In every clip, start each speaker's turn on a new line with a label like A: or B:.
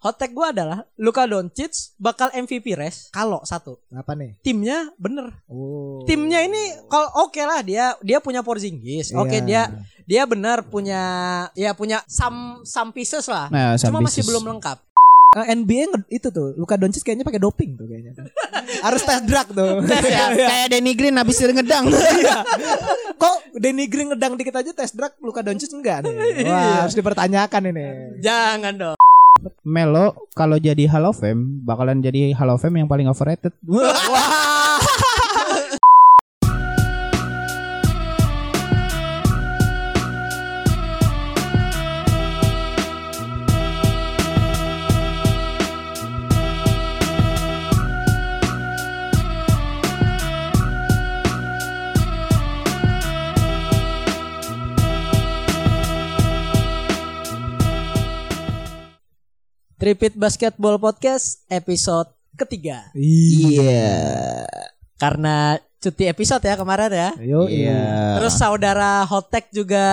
A: Hot take gue adalah Luka Doncic bakal MVP race kalau satu
B: Apa nih?
A: timnya bener.
B: Oh.
A: Timnya ini kalau oke lah dia dia punya Porzingis, oke
B: Iya.
A: dia dia benar punya ya punya some some pieces lah.
C: Nah, some
A: Cuma masih
C: pieces.
A: belum lengkap.
B: Eh, NBA nge- itu tuh Luka Doncic kayaknya pakai doping tuh kayaknya. Harus tes drug tuh.
A: ya.
C: Kayak- Iya, Kayak Denny Green habis ngedang.
B: Iya. Kok Denny Green ngedang dikit aja tes drug Luka Doncic enggak
C: Iya.
B: nih? Wah, harus dipertanyakan ini.
A: Jangan dong.
C: Melo kalau jadi Hall of Fame bakalan jadi Hall of Fame yang paling overrated.
A: Tripit Basketball Podcast episode ketiga.
C: Iya.
A: Karena cuti episode ya kemarin ya.
B: Yo,
C: Iya.
A: Terus saudara Hotek juga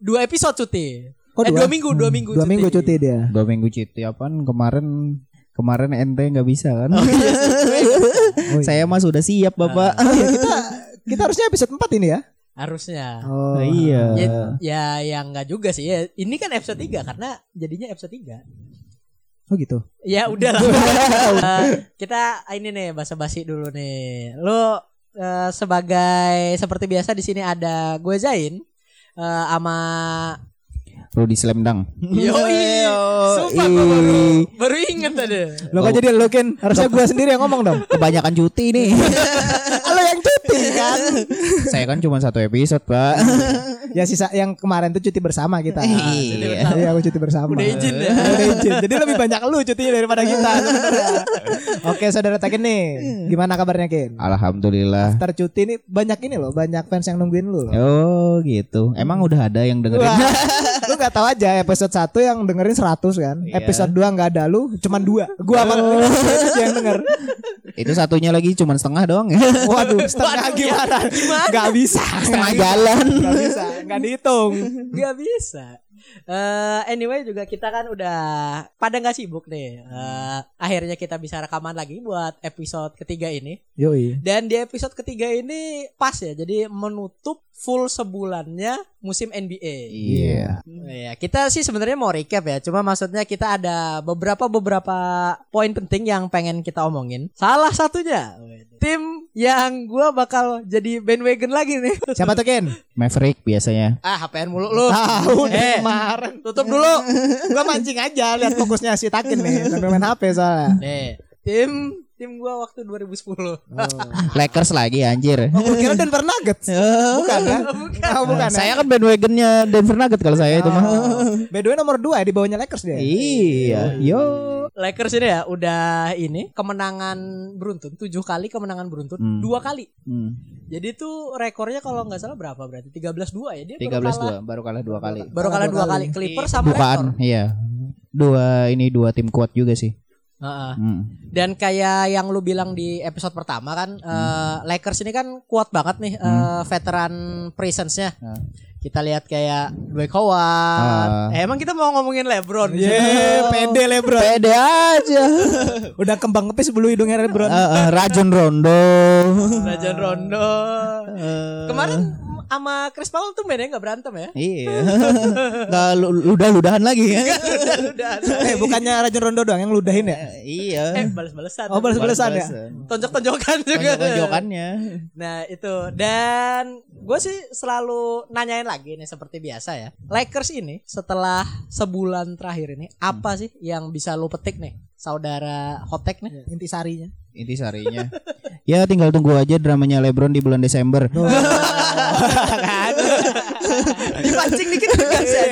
A: dua episode cuti. eh, dua minggu, dua minggu
B: Dua minggu cuti dia.
C: Dua minggu cuti apaan kemarin kemarin ente nggak bisa kan?
B: iya. Oh, iya.
C: Saya mah sudah siap bapak.
B: Oh, iya, kita kita harusnya episode 4 ini ya.
A: Harusnya.
B: Oh.
C: iya.
A: Ya, ya yang enggak juga sih. Ya, ini kan episode 3 karena jadinya episode 3.
B: Oh gitu.
A: Ya udah lah. Eh, kita ini nih basa-basi dulu nih. Lu eh, sebagai seperti biasa di sini ada gue Zain eh, sama
C: Lu di slam dunk.
A: Yoi.
C: Iya.
A: Sumpah gue baru, baru inget tadi.
B: Lo kok jadi Oh. lo Kin? Harusnya gue sendiri yang ngomong dong.
C: Kebanyakan cuti nih.
B: Lo yang cuti kan.
C: Saya kan cuma satu episode pak.
B: ya sisa yang kemarin tuh cuti bersama kita.
A: Jadi
C: Iya.
A: pertama,
B: Iya, aku cuti bersama.
A: Udah izin ya.
B: Udah izin. Jadi lebih banyak lu cutinya daripada kita. sebenarnya. Oke, saudara Tekin nih. Gimana kabarnya Kin?
C: Alhamdulillah.
B: After cuti nih banyak ini loh, banyak fans yang nungguin lu. Loh.
C: Oh gitu. Emang udah ada yang
B: Wah,
C: dengerin?
B: lu gak tahu aja episode 1 yang dengerin 100 kan.
C: Iya.
B: Episode 2 gak ada lu, cuman 2. Gua sama lu yang denger.
C: Itu satunya lagi cuma setengah doang ya.
B: Waduh, ya. setengah
A: Waduh,
B: gimana?
A: gimana?
B: Gak bisa.
C: Setengah jalan.
B: Gak bisa, gak dihitung.
A: Gak bisa. Eh, anyway juga kita kan udah pada nggak sibuk nih. Eh, akhirnya kita bisa rekaman lagi buat episode ketiga ini.
B: Yoi.
A: Dan di episode ketiga ini pas ya. Jadi menutup full sebulannya musim NBA.
C: Iya.
A: Iya, kita sih sebenarnya mau recap ya. Cuma maksudnya kita ada beberapa beberapa poin penting yang pengen kita omongin. Salah satunya tim yang gua bakal jadi bandwagon lagi nih.
B: Siapa tuh Ken?
C: Maverick biasanya.
A: Ah, HPN mulu lu.
B: Tahu
A: Eh,
B: kemarin.
A: tutup dulu.
B: Gua mancing aja lihat fokusnya si Takin nih sambil main HP soalnya.
A: Nih, tim tim gua waktu 2010.
C: Lakers lagi anjir.
B: Oh, gua kira Denver Nuggets. Bukan kan?
A: Bukan.
B: Oh, bukan. ya?
C: Saya kan bandwagonnya Denver Nuggets kalau saya itu mah.
B: Oh. By the way nomor 2 ya di bawahnya Lakers dia.
C: Iya, yo.
A: Lakers ini ya udah ini kemenangan beruntun 7 kali kemenangan beruntun,
C: Hmm.
A: dua kali.
C: Hmm,
A: Jadi tuh rekornya kalau nggak salah berapa berarti? 13-2 ya dia baru
C: 13-2 baru kalah dua kali.
A: kalah baru kalah dua kali. Clippers sama Raptors.
C: Bukaan, iya. Dua ini dua tim kuat juga sih.
A: Heeh.
C: Hmm.
A: Dan kayak yang lu bilang di episode pertama kan eh, Lakers ini kan kuat banget nih eh,
C: Hmm.
A: veteran presence-nya.
C: Ah.
A: Kita lihat kayak Dwight Howard.
C: Ah.
A: Eh,
C: Iya.
A: emang kita mau ngomongin LeBron. di sini?
B: Yeah, Eh, pede LeBron.
C: Pede aja.
B: Udah kembang kepis sebelum hidungnya LeBron.
C: Eh, eh, Rajon Rondo.
A: Rajon Rondo. Kemarin sama Chris Paul tuh mainnya nggak berantem ya?
C: Eh. Iya. Enggak ludah-ludahan lagi ya.
A: Udah.
B: eh, bukannya Rajon Rondo doang yang ludahin ya?
A: Eh
C: Iya.
A: balas-balasan.
B: Oh, balas-balasan ya.
A: Tonjok-tonjokan juga.
C: Tonjok-tonjokannya.
A: Nah itu dan gue sih selalu nanyain lagi nih seperti biasa ya. Lakers ini setelah sebulan terakhir ini apa sih yang bisa lo petik nih saudara Hotek nih?
B: Intisarinya.
C: Intisarinya. Ya tinggal tunggu aja dramanya LeBron di bulan Desember.
A: Dipancing dikit gas ya.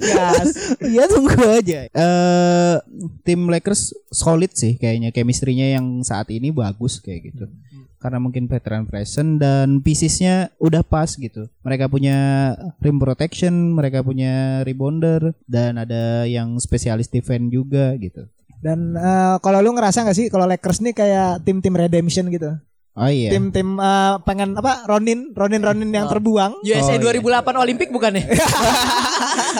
B: Yes.
C: Iya tunggu aja. Eh tim Lakers solid sih kayaknya chemistry-nya yang saat ini bagus kayak gitu. Karena mungkin veteran present dan piecesnya udah pas gitu. Mereka punya rim protection, mereka punya rebounder dan ada yang spesialis defense juga gitu.
B: Dan eh, kalau lu ngerasa gak sih kalau Lakers nih kayak tim-tim redemption gitu?
C: Oh iya.
B: Tim-tim eh, pengen apa? Ronin, Ronin, Ronin yang
A: Oh.
B: terbuang.
A: USA
C: Oh, iya.
A: 2008 Olimpik bukan ya?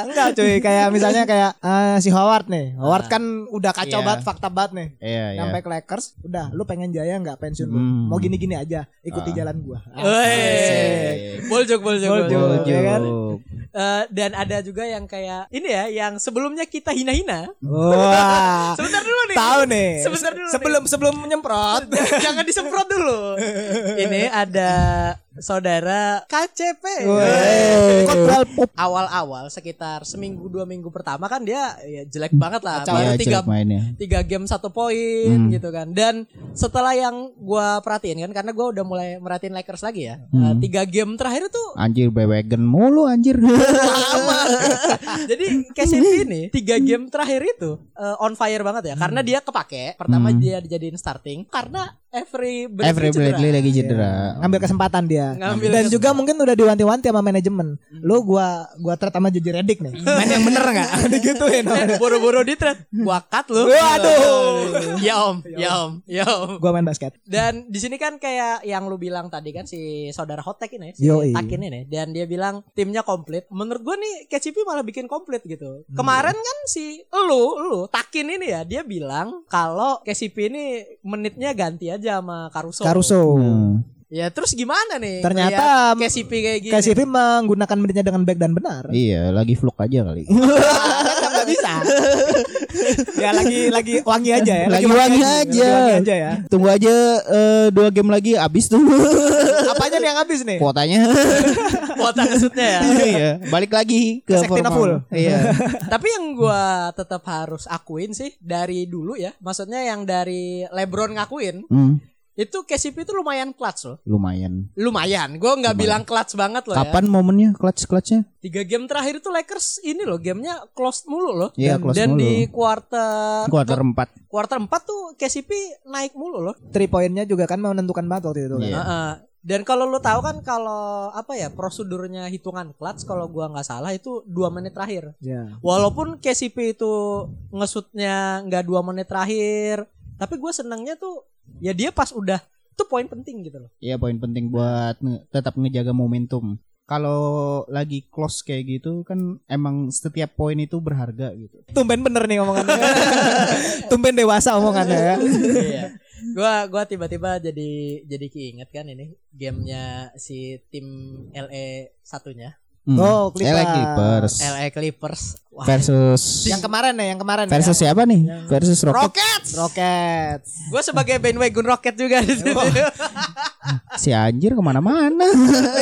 B: Enggak cuy, kayak misalnya kayak eh, si Howard nih. Howard
A: Ah.
B: kan udah kacau
C: Iya.
B: banget, fakta banget nih.
C: Iya, iya.
B: Nyampe ke Lakers, udah lu pengen jaya nggak pensiun lu?
C: Hmm.
B: Mau gini-gini aja, ikuti
C: Ah.
B: jalan gua.
A: Eh. Wey.
C: Asik.
A: Boljok, boljok,
B: Boljok.
A: boljok.
B: Iya
C: ya
B: kan?
C: Ujuk.
A: Eh, dan ada juga yang kayak ini ya, yang sebelumnya kita hina-hina.
B: Wah.
A: Sebentar dulu nih.
B: Tahu nih.
A: Sebentar dulu.
B: Sebelum sebelum nyemprot.
A: nih. jangan disemprot dulu. ini ada saudara KCP.
B: Woi. Kontrol kan pop.
A: Awal-awal sekitar seminggu dua minggu pertama kan dia ya, jelek banget lah.
B: Kacau.
A: Baru
C: Iya,
A: tiga
C: jelek mainnya.
A: tiga game satu poin
C: Hmm.
A: gitu kan dan setelah yang gua perhatiin kan karena gua udah mulai merhatiin Lakers lagi ya Eh,
C: Hmm.
A: tiga game terakhir tuh
C: Anjir bewegen mulu anjir.
A: jadi KCP ini tiga game terakhir itu eh, on fire banget ya karena dia kepake pertama
C: Hmm.
A: dia dijadiin starting karena every
C: Every Eh, Bradley lagi cedera. Iya. Kan
B: Ngambil kesempatan dia.
A: Ngambil
B: Dan
A: kesempatan. Hmm.
B: juga mungkin udah diwanti-wanti sama manajemen. Lu gua gua threat sama Jojo Redick nih. Main yang bener enggak? Digituin.
A: Eh, boro-boro di trade gua cut lu
B: Waduh.
A: ya om ya om ya om
B: gua main basket.
A: Dan di sini kan kayak yang lu bilang tadi kan si saudara Hotek ini, si
B: Yoi.
A: Takin ini dan dia bilang timnya komplit. Menurut gua nih KCP malah bikin komplit gitu. Kemarin kan si lu lu Takin ini ya dia bilang kalau KCP ini menitnya ganti aja sama Caruso.
B: Caruso.
C: Hmm.
A: Ya terus gimana nih?
B: Ternyata
A: ngeliat KCP kayak gini.
B: KCP menggunakan menitnya dengan baik dan benar.
C: Iya, kan lagi vlog aja kali.
B: Enggak bisa. ya lagi lagi wangi aja ya.
C: Lagi wangi aja.
B: Lagi wangi aja ya.
C: Tunggu aja eh, dua game lagi habis tuh
B: Apanya nih yang habis nih?
C: kuotanya.
A: Kuota kesutnya ya.
C: Iya, balik lagi ke
B: Sektina
C: formal.
B: full.
C: Iya.
A: Tapi yang gua tetap harus akuin sih dari dulu ya. Maksudnya yang dari LeBron ngakuin
C: Hmm,
A: itu KCP itu lumayan clutch loh.
C: lumayan.
A: lumayan. Gue nggak bilang clutch banget loh ya.
C: Kapan momennya clutch-clutchnya?
A: Tiga game terakhir itu Lakers ini loh gamenya close mulu loh.
C: Iya,
A: dan
C: close
A: dan
C: mulu.
A: di quarter
C: Quarter 4.
A: quarter 4 tuh KCP naik mulu loh.
B: Three poinnya juga kan menentukan banget waktu itu.
C: Iya.
B: kan.
A: Heeh. Dan kalau lo tahu kan kalau apa ya prosedurnya hitungan clutch kalau gua nggak salah itu dua menit terakhir.
B: Iya.
A: Walaupun KCP itu ngesutnya nggak dua menit terakhir, tapi gue senangnya tuh ya dia pas udah itu poin penting gitu loh.
C: Iya poin penting buat nge- tetap ngejaga momentum. Kalau lagi close kayak gitu kan emang setiap poin itu berharga gitu.
B: Tumben bener nih omongannya. Tumben dewasa omongannya ya.
A: iya. Gua gua tiba-tiba jadi jadi keinget kan ini gamenya si tim LA satunya
C: Hmm.
B: Oh,
C: LA Clippers.
A: LA Clippers. Wah.
C: Versus
B: Yang kemarin ya, yang kemarin. ya.
C: versus siapa nih? Versus Rocket.
A: Rockets.
B: Rockets.
A: Gue sebagai bandwagon Rocket juga di situ.
C: Si anjir kemana-mana.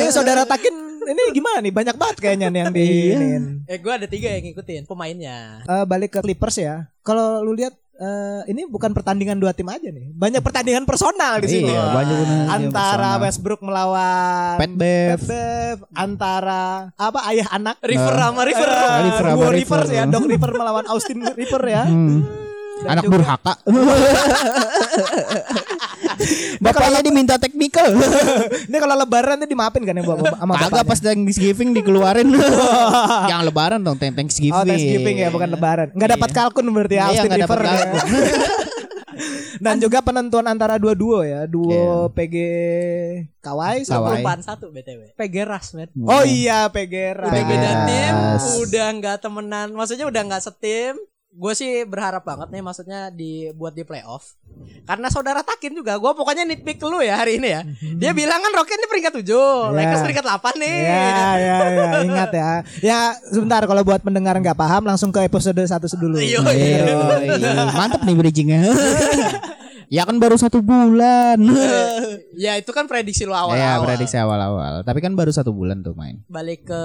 B: Eh, saudara Takin ini gimana nih? Banyak banget kayaknya nih yang di iniin.
C: Iya.
A: eh gue ada tiga yang ngikutin pemainnya.
B: Eh, balik ke Clippers ya. Kalau lu lihat eh, ini bukan pertandingan dua tim aja nih. Banyak pertandingan personal di sini.
C: Iya, banyak banget yang
B: Antara
C: personal.
B: Westbrook melawan
C: Pat Bev.
B: Pat Bev, antara apa ayah anak
A: River sama River.
B: Eh,
C: River sama
B: duo
C: River.
B: Rivers ya, Doc River melawan Austin River ya.
C: Hmm.
B: Dan
C: Anak
B: juga-
C: durhaka. Bapaknya diminta teknikal.
B: Ini kalau lebaran tuh dimaafin kan ya bapak sama
C: Agak
B: bapaknya?
C: pas Thanksgiving dikeluarin. Jangan lebaran dong, thank- Thanksgiving.
B: Oh Thanksgiving ya bukan lebaran. Nggak dapat
C: Iya.
B: kalkun berarti ya,
C: Iya,
B: Austin
C: nggak dapat
B: River. ya.
C: kalkun.
B: Dan juga penentuan antara dua duo ya, duo
C: Iya.
B: PG Kawai sama
C: Kawhi.
A: Kelupaan satu BTW. PG Ras, men.
C: Hmm.
B: Oh iya PG Rai.
A: Udah
C: PG
A: beda tim,
C: Ras.
A: udah nggak temenan. Maksudnya udah nggak setim. Gue sih berharap banget nih maksudnya dibuat di playoff. Karena saudara Takin juga, gue pokoknya nitpick lu ya hari ini ya. Dia bilang kan Rocket ini peringkat 7, Lakers peringkat 8 nih.
B: Ya, ya, ya, ingat ya. Ya, sebentar kalau buat pendengar nggak paham langsung ke episode satu dulu.
A: Iya.
C: Yoi. Mantep nih bridgingnya. ya kan baru satu bulan.
B: Iya,
A: Eh, ya itu kan prediksi lu awal-awal.
C: Ya prediksi awal-awal. Tapi kan baru satu bulan tuh main.
A: Balik ke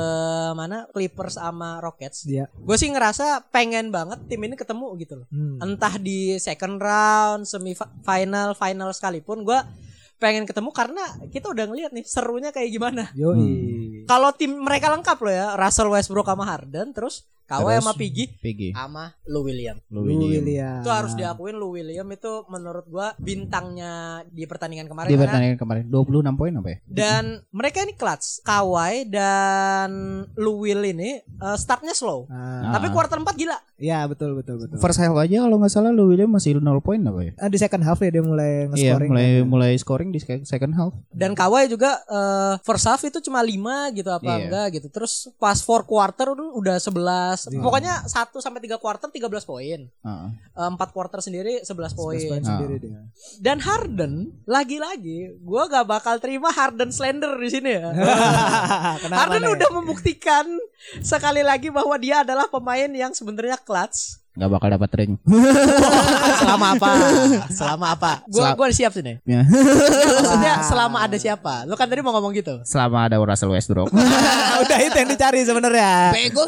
A: mana? Clippers sama Rockets.
B: Iya.
A: Gue sih ngerasa pengen banget tim ini ketemu gitu loh.
B: Hmm.
A: entah di second round, semifinal, final sekalipun gua pengen ketemu karena kita udah ngeliat nih serunya kayak gimana.
C: Hmm.
B: Yoi.
A: Kalau tim mereka lengkap loh ya, Russell Westbrook sama Harden, terus Kawhi
C: Terus-
A: sama Piggy
C: PG.
A: sama Lou William.
C: Lu
B: Lu
C: William.
B: William.
A: Itu
C: Ah.
A: harus diakuin Lou William itu menurut gua bintangnya di pertandingan kemarin
C: Di
A: karena-
C: pertandingan kemarin 26 poin apa ya?
A: dan mereka ini clutch. Kawhi dan Lou Will ini eh, startnya slow.
B: Ah,
C: Ah.
A: Tapi quarter 4 gila.
B: Ya betul betul betul.
C: First half aja kalau nggak salah Lou William masih 0 poin apa ya?
B: Ah, di second half ya dia mulai
C: Iya,
B: nge-scoring. kan.
C: mulai mulai scoring di sec- second half.
A: Dan Kawhi juga eh, first half itu cuma 5 gitu apa
C: Iya.
A: enggak gitu. Terus pas four quarter udah 11. Pokoknya 1 sampai 3 quarter 13 poin.
C: Heeh.
A: Eh, Empat quarter sendiri 11
B: Terus
A: poin.
C: Ah.
B: main sendiri dia.
A: Dan Harden lagi-lagi gua gak bakal terima Harden slender di sini ya.
B: Kenapa
A: Harden
B: nih?
A: udah membuktikan sekali lagi bahwa dia adalah pemain yang sebenarnya clutch.
C: Nggak bakal dapat ring.
A: selama apa? Selama apa? Ah. Gua
C: Selam-
A: gua siap sini.
C: Ya.
A: Maksudnya selama ada siapa? Lu kan tadi mau ngomong gitu.
C: Selama ada Russell Westbrook.
B: Ah, udah itu yang dicari sebenarnya.
C: Bego.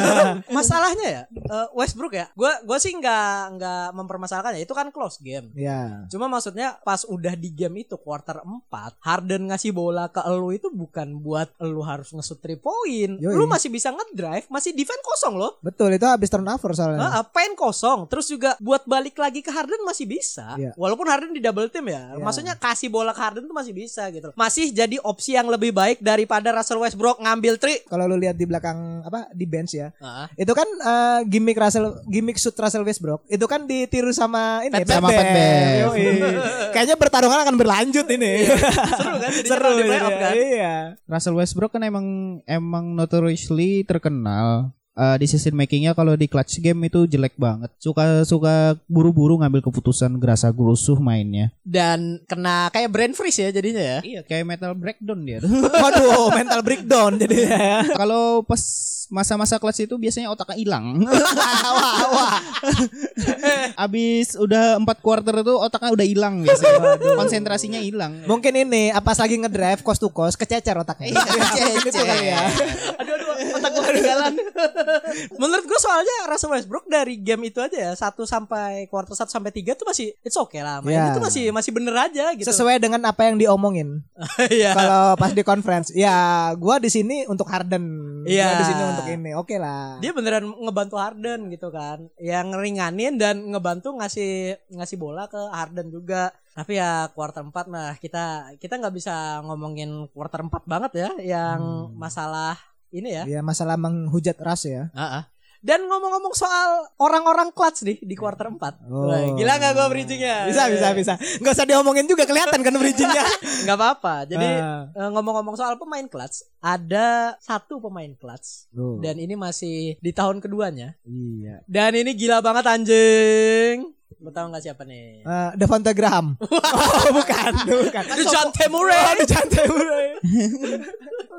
A: Masalahnya ya eh, Westbrook ya. Gua gua sih nggak nggak mempermasalahkan ya. Itu kan close game.
B: Ya.
A: Cuma maksudnya pas udah di game itu quarter 4 Harden ngasih bola ke elu itu bukan buat elu harus nge-shoot 3 point
B: Yoi.
A: Lu masih bisa ngedrive, masih defense kosong loh
B: Betul itu habis turnover soalnya.
A: Heeh, pen kosong terus juga buat balik lagi ke Harden masih bisa
B: Iya.
A: walaupun Harden di double team ya
B: Iya.
A: maksudnya kasih bola ke Harden tuh masih bisa gitu loh. masih jadi opsi yang lebih baik daripada Russell Westbrook ngambil three
B: Kalau lu lihat di belakang apa di bench ya. Itu kan eh, gimmick Russell gimmick shoot Russell Westbrook. Itu kan ditiru sama ini
A: Pat
C: Bev.
B: Pat Bev.
C: Sama Pat Bev.
B: Yoi. Kayaknya pertarungan akan berlanjut ini.
A: seru kan jadinya
B: Seru
A: kalau di playoff
B: ini.
A: kan
B: Iya.
C: Russell Westbrook kan emang emang notoriously terkenal eh, di decision makingnya kalau di clutch game itu jelek banget. Suka suka buru-buru ngambil keputusan gerasa gerusuh mainnya.
A: dan kena kayak brain freeze ya jadinya ya
C: Iya, kayak metal breakdown dia.
B: Waduh, mental breakdown jadinya. ya.
C: kalau pas masa-masa clutch itu biasanya otaknya hilang. Abis udah empat quarter itu otaknya udah hilang biasanya. Konsentrasinya hilang.
B: Mungkin ini apa lagi ngedrive cost to cost kececer
A: Iya,
B: otaknya. Gitu kali ya.
A: aduh aduh otak gue ketinggalan menurut gue soalnya Russell Westbrook dari game itu aja ya 1 sampai quarter 1 sampai 3 tuh masih it's okay lah main
B: Iya.
A: itu masih masih bener aja gitu
B: Sesuai dengan apa yang diomongin.
A: Iya.
B: Kalau pas di conference, ya gua di sini untuk Harden.
A: Iya.
B: Gua di sini untuk ini. Oke lah.
A: dia beneran ngebantu Harden gitu kan yang ngeringanin dan ngebantu ngasih ngasih bola ke Harden juga tapi ya quarter 4 mah kita kita nggak bisa ngomongin quarter 4 banget ya
B: Hmm.
A: yang masalah ini ya
B: Ya masalah menghujat ras ya.
A: Heeh. dan ngomong-ngomong soal orang-orang clutch nih di quarter 4
B: Oh.
A: Wah, gila nggak gue bridgingnya
B: Bisa bisa bisa. Gak usah diomongin juga kelihatan kan bridgingnya.
A: nggak apa-apa jadi
B: Ah.
A: eh, ngomong-ngomong soal pemain clutch ada satu pemain clutch
B: Hmm.
A: dan ini masih di tahun keduanya
B: iya.
A: Dan ini gila banget anjing. Lo tau gak siapa nih?
B: Eh, Devonta Graham. oh, bukan, bukan.
A: Dejante Murray.
B: Oh, Dejante Murray.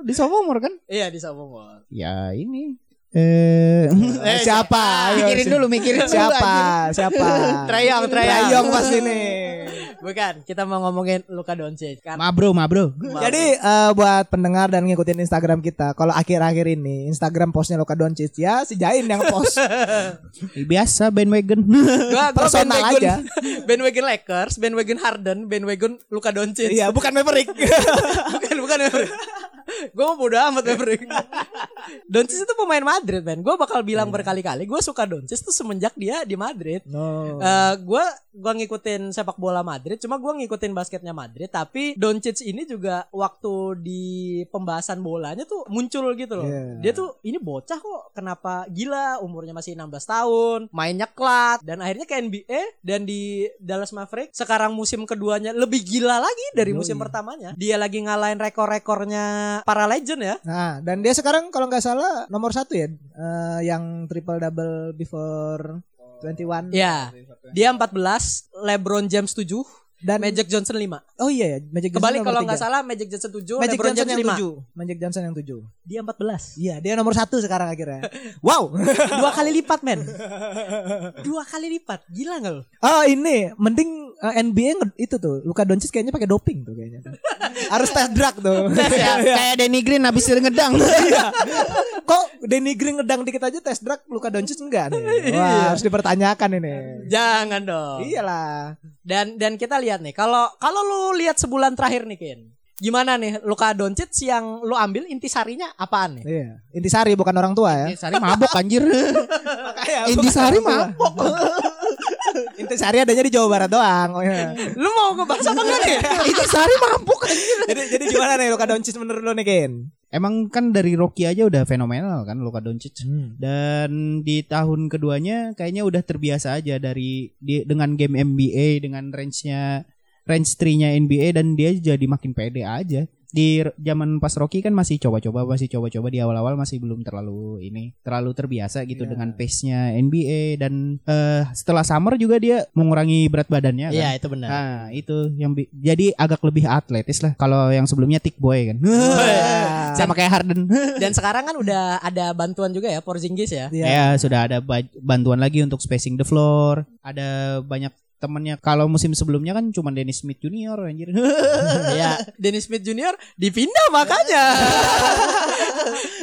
C: Di Sophomore kan?
A: Iya di Sabongol.
C: Ya ini. Eh,
B: Eh, siapa? Ayo,
C: mikirin
B: si-
C: dulu, mikirin dulu,
A: Iya,
B: Siapa? Siapa?
A: Treyong, Treyong.
B: Trayong pasti nih.
A: Bukan, kita mau ngomongin Luka Doncic kan.
C: Mabro, mabro.
B: Jadi eh, buat pendengar dan ngikutin Instagram kita, kalau akhir-akhir ini Instagram postnya Luka Doncic ya si Jain yang post.
C: Biasa bandwagon.
A: gua, gua
B: personal
A: bandwagon-
B: aja.
A: bandwagon Lakers, bandwagon Harden, bandwagon Luka Doncic.
B: Iya, bukan Maverick.
A: bukan bukan Maverick. gue mau bodo amat Maverick. Doncic itu pemain Madrid, men. Gue bakal bilang
B: Iya.
A: berkali-kali, gue suka Doncic tuh semenjak dia di Madrid.
B: no.
A: Eh, gue gua ngikutin sepak bola Madrid, cuma gue ngikutin basketnya Madrid. Tapi Doncic ini juga waktu di pembahasan bolanya tuh muncul gitu loh.
B: Iya.
A: Dia tuh ini bocah kok kenapa gila umurnya masih 16 tahun, mainnya klat dan akhirnya ke NBA dan di Dallas Mavericks sekarang musim keduanya lebih gila lagi dari musim
B: Yoi.
A: pertamanya. Dia lagi ngalahin rekor-rekornya para legend ya.
B: Nah, dan dia sekarang kalau nggak salah nomor satu ya, eh, yang triple double before 21
A: Ya. Dia 14, LeBron James 7,
B: dan
A: Magic Johnson 5.
B: oh iya ya, Magic Johnson
A: Kebalik
B: nomor
A: kalau
B: tiga.
A: nggak salah Magic Johnson 7,
B: Magic
A: LeBron
B: Johnson
A: James
B: yang
A: 5.
B: tujuh, Magic Johnson yang tujuh.
A: Dia 14.
B: Iya, dia nomor satu sekarang akhirnya. wow.
A: Dua kali lipat, men. Dua kali lipat. Gila nggak lo?
B: Oh ini, mending eh, NBA nge- itu tuh, Luka Doncic kayaknya pakai doping tuh kayaknya. Harus tes drug tuh.
C: Kayak Danny Green habis ngedang.
B: Kok Danny Green ngedang dikit aja tes drug, Luka Doncic enggak nih? Wah, harus dipertanyakan ini.
A: Jangan dong.
B: Iyalah.
A: Dan dan kita lihat nih, kalau kalau lu lihat sebulan terakhir nih, Kin. Gimana nih Luka Doncic yang lu ambil intisarinya apaan nih?
B: Iya. Intisari bukan orang tua ya.
C: Sari mabok anjir.
B: Makanya
C: Intisari mabok.
B: Intisari adanya di Jawa Barat doang. Oh, iya.
A: Lu mau ngebahas apa enggak nih?
C: Intisari mabok.
B: jadi jadi gimana nih Luka Doncic menurut lo nih Ken?
C: Emang kan dari Rocky aja udah fenomenal kan Luka Doncic.
B: Hmm.
C: Dan di tahun keduanya kayaknya udah terbiasa aja dari di- dengan game NBA dengan range-nya range 3-nya NBA dan dia jadi makin pede aja. Di r- zaman pas Rocky kan masih coba-coba, masih coba-coba di awal-awal masih belum terlalu ini, terlalu terbiasa gitu
B: Iya.
C: dengan pace-nya NBA dan eh, setelah summer juga dia mengurangi berat badannya kan.
A: Iya itu benar.
C: Nah, itu yang bi- jadi agak lebih atletis lah kalau yang sebelumnya Tick Boy kan.
B: Wah.
C: Sama kayak Harden.
A: Dan sekarang kan udah ada bantuan juga ya Porzingis ya.
B: Iya.
C: Ya, sudah ada ba- bantuan lagi untuk spacing the floor. Ada banyak temennya. Kalau musim sebelumnya kan cuma Dennis Smith Junior anjir.
A: ya, Dennis Smith Junior dipindah makanya.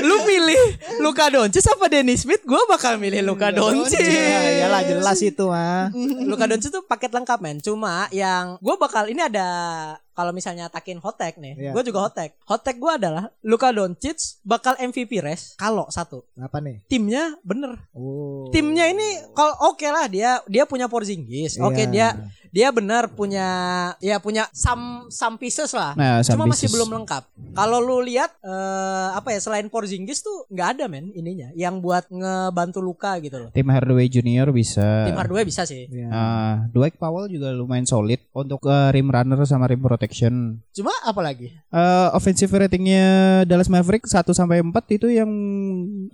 A: lu milih Luka Doncic apa Dennis Smith? Gua bakal milih Luka Doncic.
B: Ya, iyalah jelas itu mah.
A: Luka Doncic tuh paket lengkap men. Cuma yang gue bakal ini ada kalau misalnya takin hotek nih,
B: Iya.
A: gue juga hotek. Hotek gue adalah Luka Doncic bakal MVP res kalau satu
B: Apa nih?
A: timnya bener.
B: Oh.
A: Timnya ini kalau oke lah dia dia punya Porzingis, oke
B: Iya.
A: dia dia benar punya ya punya some some pieces lah.
C: Nah,
A: Cuma
C: Sam
A: masih
C: Pieces.
A: belum lengkap. Kalau lu lihat eh, apa ya selain Porzingis tuh nggak ada men ininya yang buat ngebantu Luka gitu loh.
C: Tim Hardaway Junior bisa.
B: Eh.
A: Tim Hardaway bisa sih.
B: Iya.
C: Nah, Dwight Powell juga lumayan solid untuk eh, rim runner sama rim protection.
A: Cuma apa lagi?
C: Eh, offensive ratingnya Dallas Mavericks 1 sampai 4 itu yang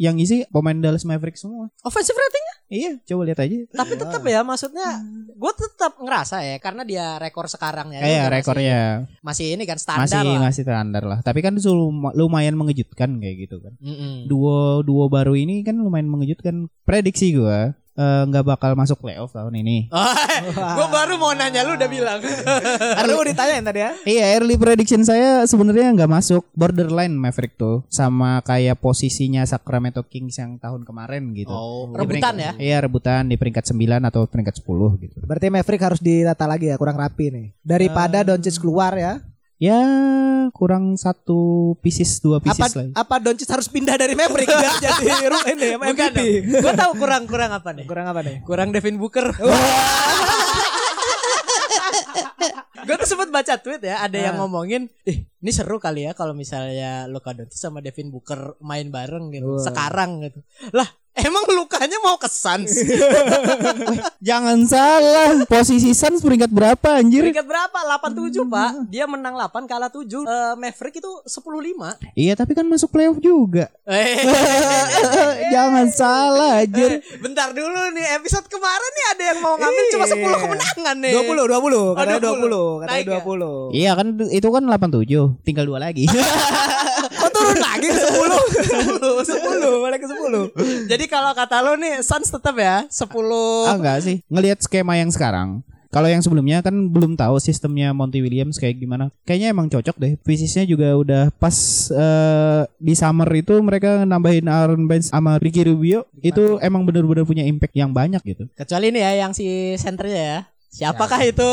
C: yang isi pemain Dallas Mavericks semua.
A: Offensive rating
C: Iya, coba lihat aja.
A: Tapi tetap ya maksudnya
B: Hmm.
A: gue tetap ngerasa ya karena dia rekor sekarang ya.
C: Kayak
A: Dia masih-
C: rekornya
A: Masih, ini kan standar
C: Iya, masih
A: lah.
C: masih standar lah. Tapi kan itu lum- lumayan mengejutkan kayak gitu kan.
A: Mm-mm.
C: Duo duo baru ini kan lumayan mengejutkan. Prediksi gua eh, nggak bakal masuk playoff tahun ini.
B: Ah.
A: gue baru mau nanya lu udah bilang.
B: Karena mau ditanyain tadi ya.
C: Iya, early prediction saya sebenarnya nggak masuk borderline Maverick tuh sama kayak posisinya Sacramento Kings yang tahun kemarin gitu.
A: oh,
C: Di
A: rebutan ya.
C: peringkat- Iya, rebutan di peringkat 9 atau peringkat 10 gitu.
B: Berarti Maverick harus dirata lagi ya, kurang rapi nih. Daripada Doncic keluar ya.
C: Ya, kurang satu pieces, dua pieces
B: Apa
C: lah.
B: apa Doncic harus pindah dari Maverick biar jadi ru- ini ya,
A: Bukan
B: MVP?
A: Gue tahu kurang-kurang apa nih.
B: Kurang apa nih?
A: Kurang Devin Booker. gue tuh sempat baca tweet ya ada
B: Ah.
A: yang ngomongin ih ini seru kali ya kalau misalnya Luka Doncic sama Devin Booker main bareng gitu sekarang gitu lah emang lukanya mau kesan
C: Ah, Jangan salah, posisi Suns peringkat berapa anjir?
A: Peringkat berapa? 87, Pak. Dia menang 8 kalah 7. Eh, Maverick itu 10-5.
C: Iya, tapi kan masuk playoff juga. Jangan salah anjir.
A: Eh, Bentar dulu nih, episode kemarin nih ada yang mau ngambil cuma 10 kemenangan nih.
B: 20, 20, katanya
A: 20.
B: 20, katanya
A: Naik ya?
B: 20.
C: Iya kan itu kan 87, tinggal dua lagi.
B: Kok turun lagi ke 10? 10, balik ke 10.
A: Jadi kalau kata lo nih Suns tetap ya 10.
C: ah enggak sih. Ngelihat skema yang sekarang, kalau yang sebelumnya kan belum tahu sistemnya Monty Williams kayak gimana. Kayaknya emang cocok deh. Fisisnya juga udah pas eh, di summer itu mereka nambahin Aaron Baines sama Ricky Rubio. Itu emang bener-bener punya impact yang banyak gitu.
A: Kecuali ini ya yang si senternya ya. Siapakah itu?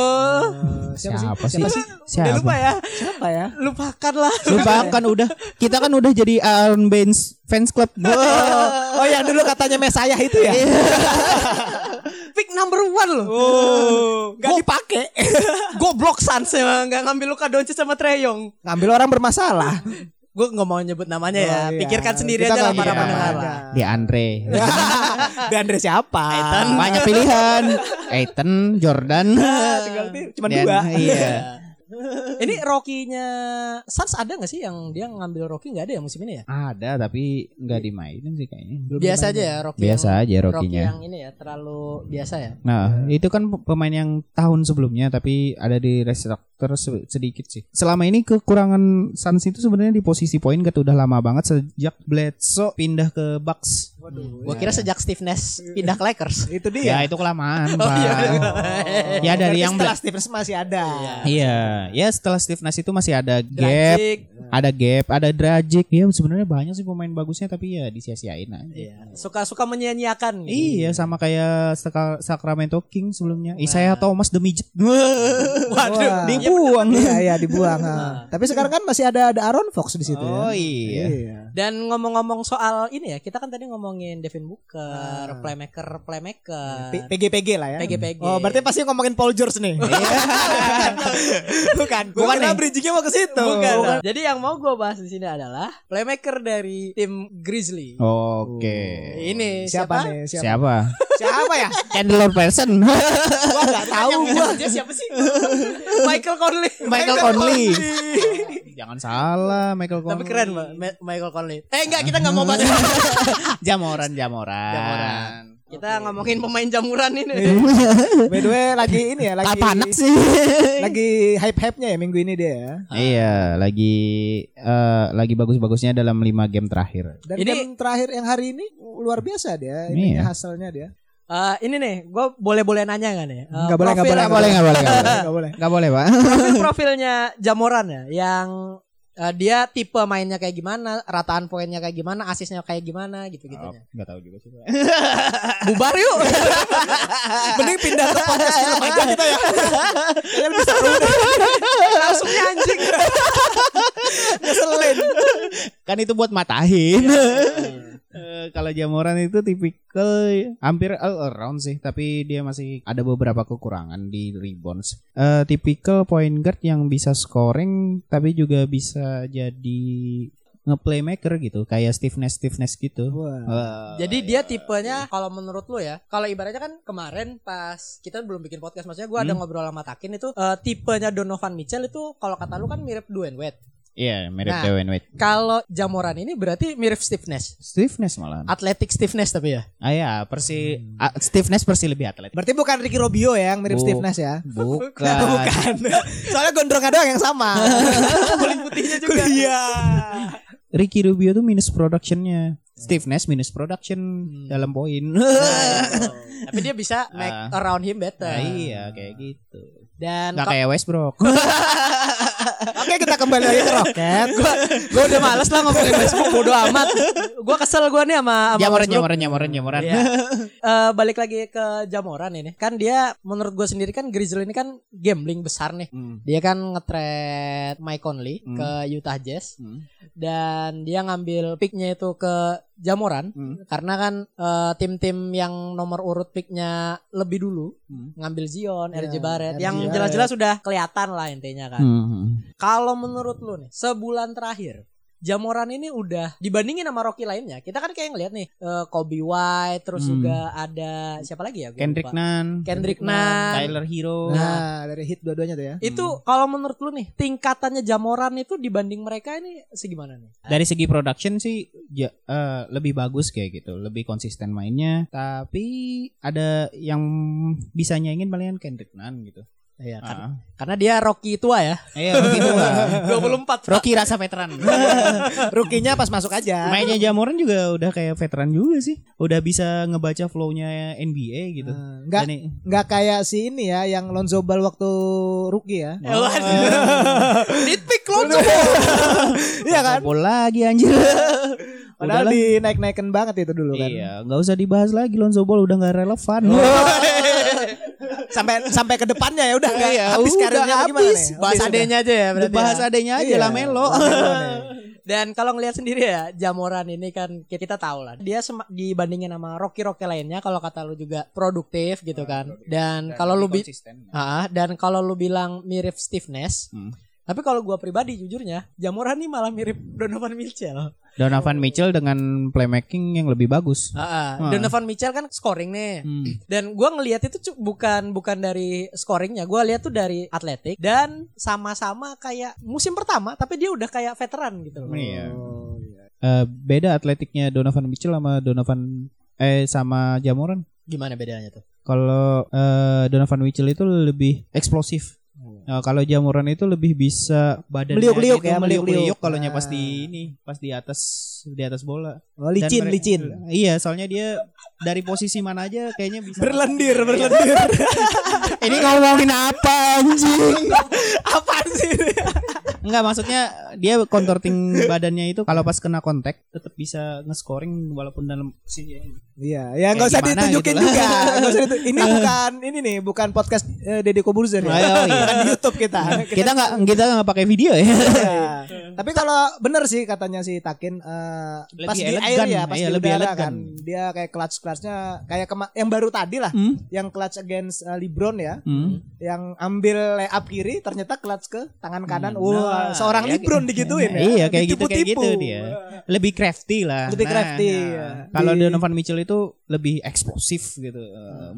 B: Eh, Siapa sih?
C: Siapa sih?
A: Udah
C: Siapa?
A: lupa Hmm. ya.
B: Siapa ya?
A: Lupakanlah.
C: Lupakan udah. Kita kan udah jadi Aaron Baines fans club.
B: Oh, yang dulu katanya Mesayah itu ya?
A: Pick number one loh.
B: Oh,
A: Gak dipakai. Goblok Suns emang gak ngambil Luka Doncic sama Treyong.
B: ngambil orang bermasalah.
A: Gue gak mau nyebut namanya ya.
B: Oh, iya.
A: Pikirkan sendiri
B: Kita
A: aja lah
B: nggak
A: para
C: bikin nama
A: pendengar
B: aja.
A: lah.
C: Di Andre.
B: Dan dari siapa?
A: Aitan.
C: Banyak pilihan. Aiton, Jordan.
B: Tinggal ti- cuma
C: Dan-
B: dua.
C: Iya.
A: Ini Rocky-nya Suns ada gak sih yang dia ngambil Rocky gak ada ya musim ini ya?
C: Ada tapi nggak dimainin sih kayaknya.
A: Biasa aja ya Rocky.
C: Biasa
A: yang-
C: aja
A: Rocky
C: Rocky-nya.
A: yang ini ya terlalu biasa ya.
C: Nah, itu kan pe- pemain yang tahun sebelumnya tapi ada di restructure se- sedikit sih. Selama ini kekurangan Suns itu sebenarnya di posisi poin gak udah lama banget sejak Bledsoe pindah ke Bucks.
A: Gue kira sejak Steve Nash pindah ke Lakers.
B: ya. itu
C: Ya,
B: dia. Oh,
C: itu kelamaan,
A: Oh,
C: Pak.
A: iya.
C: Ya, dari yang
B: setelah Stevens masih ada.
C: Iya, ya setelah Steve Nash itu masih ada gap,
A: Dragic.
C: ada gap, ada Dragic. Ya sebenarnya banyak sih pemain bagusnya tapi ya disia-siain aja.
A: Iya. Suka-suka gitu. menyia-nyiakan.
C: Iya, sama kayak Saka- Sacramento King sebelumnya. Isaiah Thomas the Midget.
B: Wah.
A: Waduh, di
C: Dibuang.
B: Iya, iya dibuang. ha. Tapi sekarang kan masih ada ada Aaron Fox di situ
C: Oh
B: ya.
C: iya.
A: Dan ngomong-ngomong soal ini ya, kita kan tadi ngomongin Devin Booker, playmaker, playmaker. Iya.
B: P- PG-PG lah ya.
A: PG-PG.
B: Oh, berarti pasti ngomongin Paul George nih.
A: bukan bukan
B: Bukan
A: nih.
B: bridgingnya mau ke situ. Nah.
A: Bukan. Jadi yang mau gue bahas di sini adalah playmaker dari tim Grizzly.
C: Oke.
A: Ini
B: Siapa,
A: siapa?
B: nih? Iya, Siapa?
C: Siapa?
B: Siapa ya?
C: Chandler Person.
A: Gua enggak tahu
B: Yang
A: gua. Dia siapa sih? Michael Conley.
C: Michael Conley. Jangan salah, Michael Conley.
A: Tapi keren Mbak. Ma- Michael Conley. Eh enggak, kita enggak mau bahas. itu.
C: Jamoran, Jamoran.
A: Jamoran. kita ngomongin pemain jamuran ini.
B: Iya. By the way lagi ini ya, lagi
C: Apa anak sih?
B: lagi hype-hype-nya ya minggu ini dia ya.
C: Iya, lagi eh, lagi bagus-bagusnya dalam 5 game terakhir.
B: Dan
A: Ini-
B: game terakhir yang hari ini luar biasa dia,
C: Iya.
B: ini hasilnya dia.
A: Eh, ini nih, gua boleh-boleh nanya enggak nih? Eh,
B: Nggak boleh, nggak
A: profil-
B: boleh,
C: Nggak boleh, nggak boleh, nggak boleh.
B: Enggak boleh.
C: Nggak boleh, Pak.
A: profil-profilnya Jamoran ya yang eh, dia tipe mainnya kayak gimana, rataan poinnya kayak gimana, asisnya kayak gimana gitu-gitunya.
C: Enggak tahu juga sih. Pak.
A: Bubar yuk.
B: Mending pindah ke podcast film aja kita ya. Kalian lebih seru deh.
A: Langsungnya anjing.
B: Ngeselin.
C: kan itu buat matahin.
A: Iya,
C: Eh, Kalau Jamoran itu tipikal hampir all around sih, tapi dia masih ada beberapa kekurangan di rebounds. Eh, tipikal point guard yang bisa scoring tapi juga bisa jadi nge-playmaker gitu, kayak stiffness stiffness gitu.
B: Wah.
C: Eh,
A: Jadi dia tipenya kalau menurut lu ya, kalau ibaratnya kan kemarin pas kita belum bikin podcast maksudnya gua ada
C: Hmm.
A: ngobrol sama Takin itu eh, tipenya Donovan Mitchell itu kalau kata lu kan mirip Dwayne Wade.
C: iya, mirip
A: Nah.
C: Dwayne Wade.
A: Kalau Jamoran ini berarti mirip stiffness.
C: Stiffness malah.
A: Athletic stiffness tapi ya.
C: Ah ya, Persi
A: Hmm.
C: ah, stiffness Persi lebih atlet.
B: Berarti bukan Ricky Rubio ya yang mirip
C: Bu-
B: Steve Nash ya?
C: Bukan.
B: Soalnya gondrongnya
C: ya.
B: doang yang sama.
A: Kulit putihnya juga.
B: Iya.
C: Ricky Rubio tuh minus productionnya. Steve Nash minus production dalam poin.
A: Nah, gitu. Tapi dia bisa make
B: Ah.
A: around him better.
C: Nah, iya kayak gitu.
A: Dan
B: Nah,
C: Gak kayak Westbrook.
B: Oke kita kembali lagi ke Rocket.
A: gua gua udah males lah ngomongin Facebook bodo amat. Gua kesel gua nih sama sama
C: Jamoran,
A: Facebook.
C: jamoran, jamoran, jamoran.
A: Iya. Eh, balik lagi ke Jamoran ini. Kan dia menurut gua sendiri kan Grizzly ini kan gambling besar nih.
C: Hmm.
A: Dia kan nge-trade Mike Conley
C: Hmm.
A: ke Utah Jazz
C: Hmm.
A: dan dia ngambil picknya itu ke Jamoran
C: Hmm.
A: karena kan eh, tim-tim yang nomor urut picknya lebih dulu
C: Hmm.
A: ngambil Zion,
B: Ya,
A: RJ Barrett
B: RJ
A: yang
B: Barrett.
A: jelas-jelas sudah kelihatan lah intinya kan.
C: Hmm.
A: Kalau menurut lu nih, sebulan terakhir Jamoran ini udah dibandingin sama Rocky lainnya. Kita kan kayak ngeliat nih eh, Kobe White, terus
C: Hmm.
A: juga ada siapa lagi ya? Gua
C: Kendrick
A: lupa.
C: Nunn,
A: Kendrick
B: Kendrick Nunn.
A: Nunn.
C: Tyler Hero.
B: Nah dari hit dua-duanya tuh ya.
A: Itu kalau menurut lu nih, tingkatannya Jamoran itu dibanding mereka ini segimana nih?
C: Dari segi production sih ja- eh, lebih bagus kayak gitu, lebih konsisten mainnya. Tapi ada yang bisa nyaingin palingan Kendrick Nunn gitu.
A: Iya, kan-
C: Ah.
A: karena dia Rocky tua ya.
C: Iya, Rocky tua.
A: 24.
C: Rocky rasa veteran.
B: Rukinya pas masuk aja.
C: Mainnya Jamoran juga udah kayak veteran juga sih. Udah bisa ngebaca flow-nya NBA gitu.
B: Ah, Nggak
C: Dan-
B: nggak kayak si ini ya yang Lonzo Ball waktu rookie
C: Iya.
B: ya.
A: Eh, waduh. Nitpick lu tuh.
B: Iya kan?
C: Bola lagi anjir. Udahlah.
B: Padahal dinaik-naikin banget itu dulu kan.
C: Iya, nggak usah dibahas lagi Lonzo Ball udah nggak relevan.
B: sampai sampai ke depannya ya udah nggak
C: Iya,
B: habis
C: udah
B: karirnya apa gimana
C: habis.
B: nih?
A: Bahas
B: Habis
A: adenya aja ya berarti.
C: Bahas
A: ya.
C: adanya aja
B: Iya.
C: lah Melo.
B: Lamelo nih.
A: Dan kalau ngelihat sendiri ya Jamoran ini kan ki- kita tahu lah dia sema- dibandingin sama Rocky Rocky lainnya kalau kata lu juga produktif gitu kan. Dan kalau lu bi- Ah, dan kalau lu bilang mirip stiffness,
C: Hmm.
A: tapi kalau gua pribadi jujurnya Jamoran ini malah mirip Donovan Mitchell.
C: Donovan Mitchell dengan playmaking yang lebih bagus.
A: Ah, ah.
C: Ah.
A: Donovan Mitchell kan scoring nih.
C: Hmm.
A: Dan gua ngelihat itu cu- bukan bukan dari scoringnya, gua lihat tuh dari atletik dan sama-sama kayak musim pertama tapi dia udah kayak veteran gitu loh.
C: Iya.
B: Oh, iya.
C: Eh, beda atletiknya Donovan Mitchell sama Donovan eh sama Jamoran.
A: Gimana bedanya tuh?
C: Kalau eh, Donovan Mitchell itu lebih eksplosif. Nah, kalau Jamoran itu lebih bisa badannya
B: Hmm. Meliuk-liuk
C: gitu,
B: ya, meliuk-liuk.
C: meliuk-liuk kalau nya pas
B: Ah.
C: di ini, pas di atas di atas bola.
B: Oh,
C: Dan
B: licin
C: mere-
B: licin
A: Hmm.
C: Iya, soalnya dia dari posisi mana aja kayaknya bisa. Iya.
B: berlendir berlendir
C: Ini ngomongin apa anjing?
B: apaan sih
C: Enggak, maksudnya dia contorting badannya itu kalau pas kena kontak tetap bisa nge-scoring walaupun dalam posisi yang-
B: Iya, ya
C: Kayak
B: nggak usah
C: Eh, gimana
B: ditunjukin
C: gitu lah.
B: juga. Nggak usah ditu- Ini bukan ini nih, bukan podcast eh, Deddy Kobuzer ya.
C: Ayo, iya.
B: Bukan di YouTube kita.
C: kita nggak kita nggak pakai video ya
B: Iya. Tapi kalau bener sih katanya si Takin eh,
C: Lebih
B: pas di air
C: elegan.
B: ya, pas
C: Iya,
B: di
C: lebih
B: udara
C: elegan.
B: kan. Dia kayak clutch-clutchnya kayak kema- yang baru tadi lah,
C: Hmm.
B: yang clutch against eh, LeBron ya.
C: Hmm.
B: Yang ambil layup kiri ternyata clutch ke tangan kanan.
C: Hmm, nah,
B: Wah, seorang
C: iya,
B: LeBron
C: kayak-
B: digituin ya.
C: Iya kayak gitu kayak
B: Ditipu-tipu.
C: gitu dia. Lebih crafty lah. Nah,
B: Lebih crafty, ya.
C: Kalau
B: Di-
C: Donovan Mitchell itu lebih eksplosif gitu.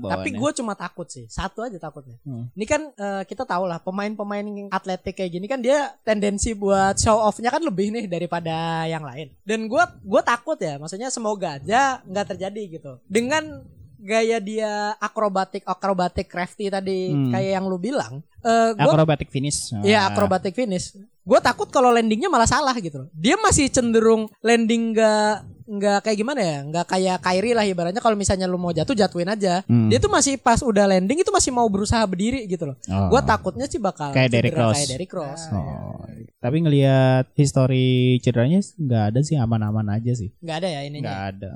A: Tapi gue cuma takut sih, satu aja takutnya.
C: Hmm.
A: Ini kan eh, kita tahu lah pemain-pemain yang atletik kayak gini kan dia tendensi buat show offnya kan lebih nih daripada yang lain. Dan gue gue takut ya, maksudnya semoga aja nggak terjadi gitu. Dengan gaya dia akrobatik akrobatik crafty tadi
C: Hmm.
A: kayak yang lu bilang, eh gue
C: akrobatik finish.
A: Iya
C: Ah.
A: akrobatik finish. Gue takut kalau landingnya malah salah gitu. loh. Dia masih cenderung landing gak nggak kayak gimana ya? Nggak kayak Kyrie lah ibaratnya kalau misalnya lu mau jatuh jatuhin aja.
C: Hmm.
A: Dia tuh masih pas udah landing itu masih mau berusaha berdiri gitu loh.
C: Oh.
A: Gue takutnya sih bakal cedera
C: Kayak Derrick Rose.
A: Kayak Derrick Rose.
C: Oh. Tapi ngelihat histori cederanya nggak ada sih aman-aman aja sih.
A: Nggak ada ya ininya.
C: Nggak ada.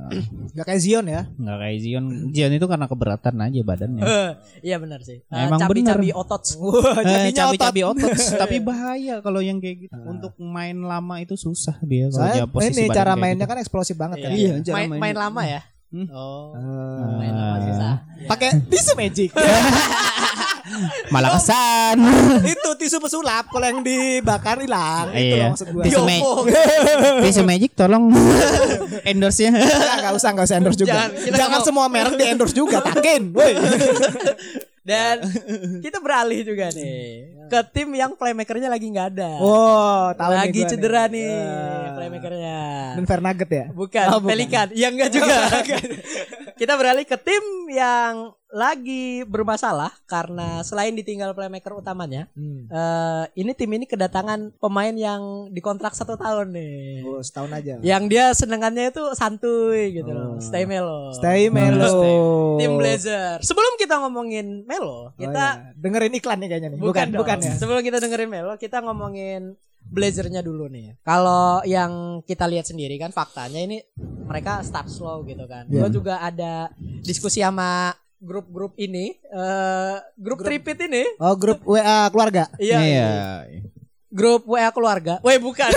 B: Nggak kayak Zion ya.
C: Nggak kayak Zion. Zion itu karena keberatan aja badannya.
A: Eh, Iya benar sih. Eh,
C: Emang
A: cabi-cabi otot.
B: Wah,
C: Eh,
B: jadinya otot.
C: cabi-cabi otot. tapi bahaya kalau yang kayak gitu. Untuk main lama itu susah dia kalau dia
B: Soalnya
C: posisi
B: ini
C: badan
B: cara
C: kayak
B: mainnya
C: gitu.
B: kan eksplosif banget kan.
C: Iya, cara
A: main,
C: main-
A: main lama ya.
C: Hmm.
A: Oh.
B: Eh,
A: Main lama
C: Ah.
A: susah. Ya.
B: Iya. Pakai tisu magic. Iya,
C: malah kesan.
B: itu tisu pesulap kalau yang dibakar hilang. Itu
C: Iya.
B: loh maksud gua.
C: Tisu
A: Diopo.
C: Face Magic tolong ya. endorse-nya.
B: Enggak, enggak usah, enggak usah endorse juga.
A: Jangan, kita
B: Jangan,
A: mau-
B: semua merek di endorse juga, takin. Woi.
A: Dan kita beralih juga
C: Iya.
A: nih ke tim yang playmakernya lagi nggak ada.
B: Oh, tahu nih
A: lagi
B: gua
A: cedera nih
C: Iya.
B: Ya.
A: playmakernya.
B: Denver Nugget ya.
A: Bukan,
B: Oh, bukan.
A: Pelikan. Ya enggak juga. Kita beralih ke tim yang lagi bermasalah karena selain ditinggal playmaker utamanya,
B: Hmm.
A: eh ini tim ini kedatangan pemain yang dikontrak satu tahun nih.
B: Oh, setahun aja.
A: Yang dia senengannya itu santuy gitu loh,
B: Oh.
A: stay melo.
B: Stay Oh, iya. Melo.
A: Tim Blazer. Sebelum kita ngomongin Melo,
B: Oh,
A: kita
B: iya. dengerin iklan nih kayaknya nih.
A: Bukan,
B: Bukan, bukan,
A: dong. Iya.
B: ya.
A: Sebelum kita dengerin Melo, kita ngomongin blazernya dulu nih. Kalau yang kita lihat sendiri kan faktanya ini mereka start slow gitu kan. Gue
C: Iya.
A: juga ada diskusi sama grup-grup ini, eh grup, tripit ini,
B: Oh, grup WA keluarga.
A: iya, grup WA keluarga. Weh bukan,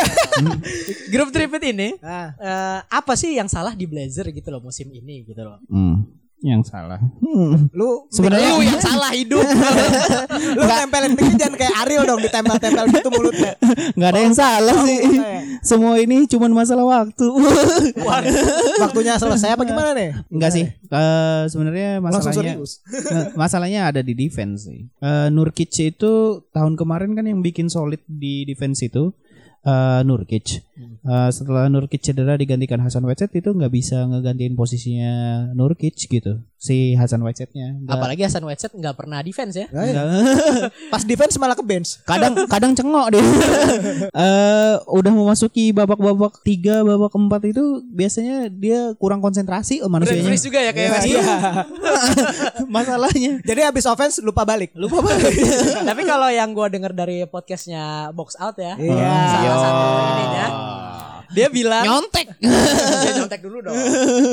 A: grup tripit ini.
B: Ah.
A: eh, apa sih yang salah di blazer gitu loh musim ini gitu loh.
C: Hmm, yang salah.
B: Lu
C: Sebenarnya
A: Lu yang salah hidup.
B: lu tempelin mic jangan kayak Ariel dong ditempel-tempel gitu mulutnya.
C: nggak ada yang salah sih. Semua ini cuman masalah waktu.
B: Iya. Waktunya selesai apa gimana nih?
C: Enggak sih. Eh, sebenarnya
B: Langsung
C: masalahnya
B: serius.
C: Nah, masalahnya ada di defense sih. Eh, Nurkic itu tahun kemarin kan yang bikin solid di defense itu eh, Nurkic. Eh, setelah Nurkic cedera digantikan Hasan Whiteside itu nggak bisa ngegantiin posisinya Nurkic gitu. Si Hasan Whiteside-nya. Nggak-
A: Apalagi Hasan Whiteside nggak pernah defense ya.
B: Ya, ya. Pas defense malah ke bench.
C: kadang kadang cengok deh. Eh udah memasuki babak-babak tiga, babak keempat itu biasanya dia kurang konsentrasi eh,
A: Brand
C: manusianya.
A: freeze juga ya kayak Westbrook.
C: Masalahnya.
B: Jadi habis offense lupa balik.
C: Lupa banget.
A: Tapi kalau yang gua denger dari podcastnya Box Out ya,
B: Iya.
A: salah satu ya. ininya,
C: Iya.
A: dia bilang
C: Nyontek.
A: dia nyontek dulu dong.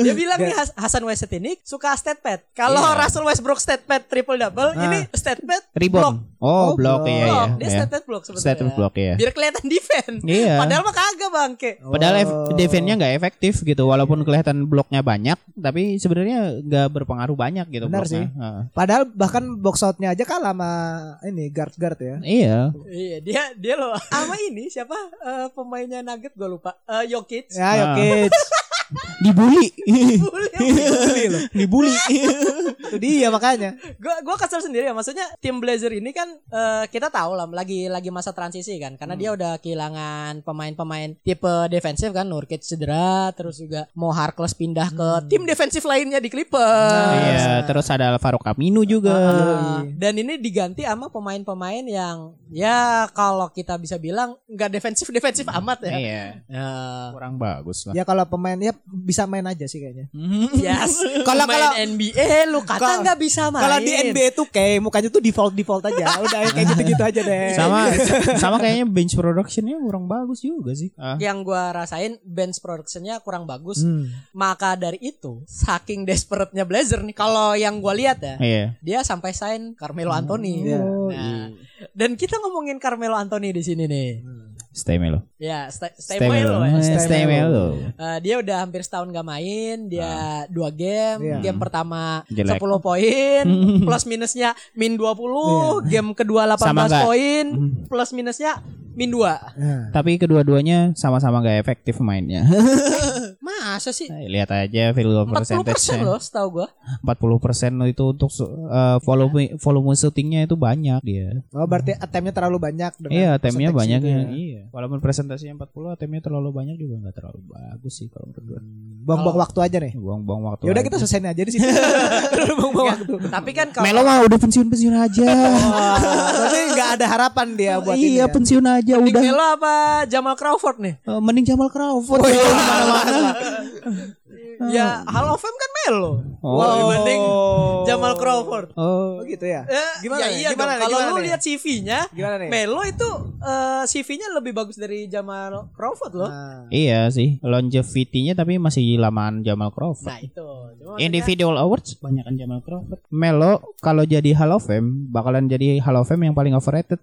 A: Dia bilang nih Has- Hasan Westbrook ini suka stat pad. Kalau
C: Iya.
A: Russell Westbrook stat pad triple double, ini stat pad block.
C: Ah. Rebound. Oh,
B: Oh,
C: block, ya ya.
A: Block. Dia stat pad block sebetulnya.
C: Stat pad block, iya.
A: Biar kelihatan defense.
C: Iya. Oh.
A: Padahal mah kagak bangke.
C: Padahal ef- defense-nya nggak efektif gitu, walaupun kelihatan bloknya banyak, tapi sebenarnya nggak berpengaruh banyak gitu.
B: Benar
C: bloknya.
B: sih.
C: Heeh.
B: Padahal bahkan box outnya aja kalah sama ini guard guard ya.
C: iya.
A: Iya, dia dia loh sama ini siapa Eh, pemainnya Nugget gua lupa. Eh, Jokic.
B: Ya
C: Ah.
B: Jokic.
C: Dibully.
A: Boleh.
C: Dibully.
B: Itu dia makanya.
A: Gua gua kesel sendiri ya maksudnya tim Blazer ini kan eh, kita tahu lah lagi lagi masa transisi kan karena dia udah kehilangan pemain-pemain tipe defensif kan Nurkic cedera terus juga mau Harkless pindah ke tim defensif lainnya di Clippers.
C: iya, terus ada Alvaro Camino juga.
A: Ah, dan ini diganti sama pemain-pemain yang ya kalau kita bisa bilang nggak defensif defensif amat ya.
C: Iya.
A: Eh,
C: Kurang bagus lah.
B: Ya kalau pemain ya bisa main aja sih kayaknya.
A: Yes.
B: Kalau-
A: Main
B: kalau-
A: NBA lu kata
B: kalau-
A: nggak bisa main.
B: Kalau di NBA tuh kayak mukanya tuh default default aja. Udah kayak gitu-gitu aja deh.
C: sama sama kayaknya bench productionnya kurang bagus juga sih ah.
A: yang gua rasain bench productionnya kurang bagus.
B: Hmm.
A: Maka dari itu, saking desperate-nya Blazer nih kalau yang gua lihat ya,
C: iya Hmm,
A: dia sampai sign Carmelo Anthony.
B: iya.
A: Nah, dan kita ngomongin Carmelo Anthony di sini nih.
C: stay melo
A: Ya, stay, stay,
C: stay
A: loh
C: melo
A: ya.
C: Eh, stay melo
A: Eh, dia udah hampir setahun gak main, dia dua game,
B: Iya.
A: game pertama
C: Nah. Jelek.
A: 10 poin, plus minusnya min 20, game kedua 18
C: Iya. Sama nggak? Hmm.
A: poin, plus minusnya min 2.
B: Nah.
C: tapi kedua-duanya sama-sama gak efektif mainnya
A: Masa sih?
C: Nah, lihat aja field goal
A: 40%
C: percentage
A: loh setahu gua.
C: 40% itu untuk eh,
B: Iya.
C: volume volume shootingnya itu banyak dia.
B: Oh berarti attempt-nya terlalu banyak dengan
C: Iya, temnya
B: persentasenya
C: banyak
B: itu
C: yang
B: ya.
C: iya. Walaupun presentasinya 40, temnya terlalu banyak juga nggak terlalu bagus sih kalau menurut gue.
B: Buang-buang waktu aja nih.
C: Buang-buang waktu.
B: Ya
C: aja.
B: udah Hmm. kita selesain aja di sini. Terlalu buang-buang waktu.
A: Tapi kan
C: Iya. Melo
A: kalau
C: mah udah pensiun-pensiun aja.
B: Wah, Berarti nggak ada harapan dia buat ini.
C: iya,
B: Oh, ya.
C: pensiun aja
A: Nick
C: udah.
A: Melo apa Jamal Crawford nih?
C: Eh, mending Jamal Crawford
B: Oh, iya.
C: ya, mana-mana.
A: Ya Hall of Fame kan Melo.
C: Hmm. Oh.
A: Wah, dibanding Jamal Crawford.
B: Oh gitu ya.
A: Eh, ya
B: Gimana nih?
A: iya
B: Gimana
A: dong.
B: nih?
A: Kalau
B: Gimana
A: lu
B: nih?
A: lihat CV-nya,
B: Gimana nih?
A: Melo itu eh, CV-nya lebih bagus dari Jamal Crawford loh.
B: Nah,
C: Iya sih, longevity-nya tapi masih lamaan Jamal Crawford.
A: Nah itu. Cuma maksudnya-
C: Individual awards banyakan Jamal Crawford. Melo kalau jadi Hall of Fame bakalan jadi Hall of Fame yang paling overrated.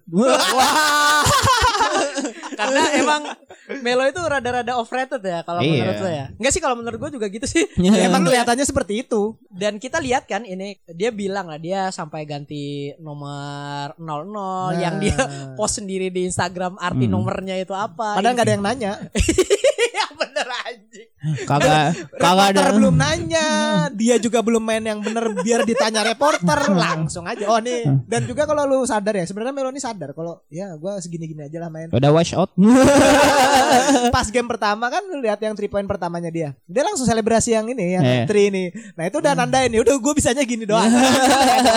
A: karena emang Melo itu rada-rada overrated ya kalau
C: Iya.
A: menurut lo ya. Enggak sih kalau menurut gue juga gitu sih.
B: ya emang kelihatannya seperti itu.
A: Dan kita lihat kan ini dia bilang lah dia sampai ganti nomor 00
C: Nah.
A: yang dia post sendiri di Instagram
C: Hmm.
A: arti nomornya itu apa.
B: Padahal nggak ada yang nanya.
A: Iya bener anjing.
C: kagak kagak ada
B: Reporter belum nanya. Dia juga belum main yang bener biar ditanya reporter langsung aja. Oh nih. Dan juga kalau lu sadar ya, sebenarnya Melo ini sadar kalau ya gua segini-gini aja lah main.
C: udah wash out
B: pas game pertama kan lu lihat yang three point pertamanya dia dia langsung selebrasi yang ini yang
C: Iya.
B: three ini nah itu udah
C: Hmm.
B: nandain ya udah gue bisanya gini doang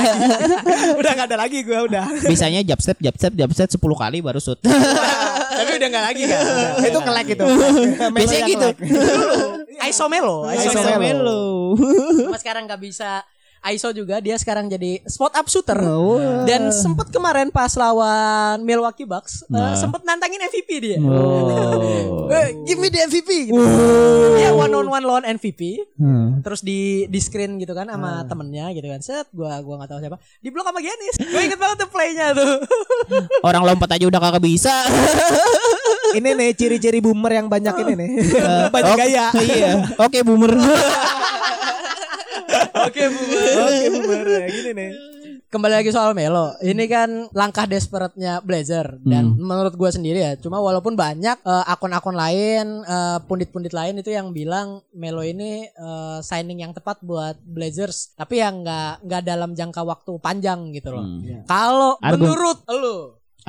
B: udah gak ada lagi gue udah
C: bisanya jab step jab step jab step 10 kali baru shoot
A: Tapi udah nggak lagi kan.
B: itu ngelek itu
C: biasanya gitu
A: ISO Melo. ISO
B: ISO
A: Melo.
B: Melo.
A: Cuma sekarang nggak bisa ISO juga dia sekarang jadi spot up shooter.
C: Iya.
A: Dan sempat kemarin pas lawan Milwaukee Bucks eh,
C: Nah.
A: sempat nantangin MVP dia.
C: oh
A: Eh, give me the MVP gitu. Dia one on one lawan MVP.
C: Uh. Hmm.
A: Terus di di screen gitu kan sama temennya gitu kan. Set gua gua nggak tahu siapa. Di blok sama Giannis. Gua inget banget tuh playnya tuh.
C: orang lompat aja udah kagak bisa
B: ini nih ciri-ciri boomer yang banyak ini nih banyak
C: Oke,
B: gaya
C: iya oke boomer
A: Oke, Bu.
B: oke boomer ya, gini nih
A: Kembali lagi soal Melo. Ini kan langkah desperate-nya Blazer dan menurut gua sendiri ya. Cuma walaupun banyak eh, akun-akun lain, eh, pundit-pundit lain itu yang bilang Melo ini eh, signing yang tepat buat Blazers, tapi yang nggak nggak dalam jangka waktu panjang gitu
C: Hmm.
A: loh. Kalau
C: Argo-
A: menurut lu